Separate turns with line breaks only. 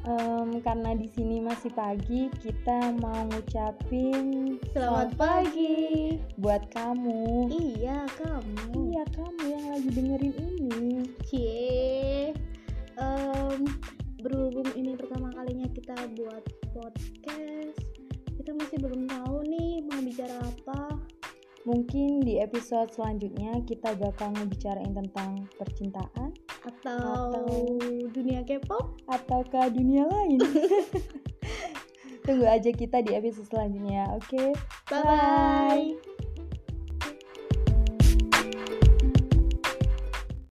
Em, karena di sini masih pagi, kita mau ngucapin
Selamat pagi.
buat kamu.
Iya, kamu.
Iya, kamu yang lagi dengerin ini.
Cie. Em, berhubung ini pertama kalinya kita buat podcast, kita masih belum tahu nih mau bicara apa.
Mungkin di episode selanjutnya kita bakal ngebicarain tentang percintaan
Atau, dunia K-pop?
ataukah dunia lain. Tunggu aja kita di episode selanjutnya, oke?
Bye-bye.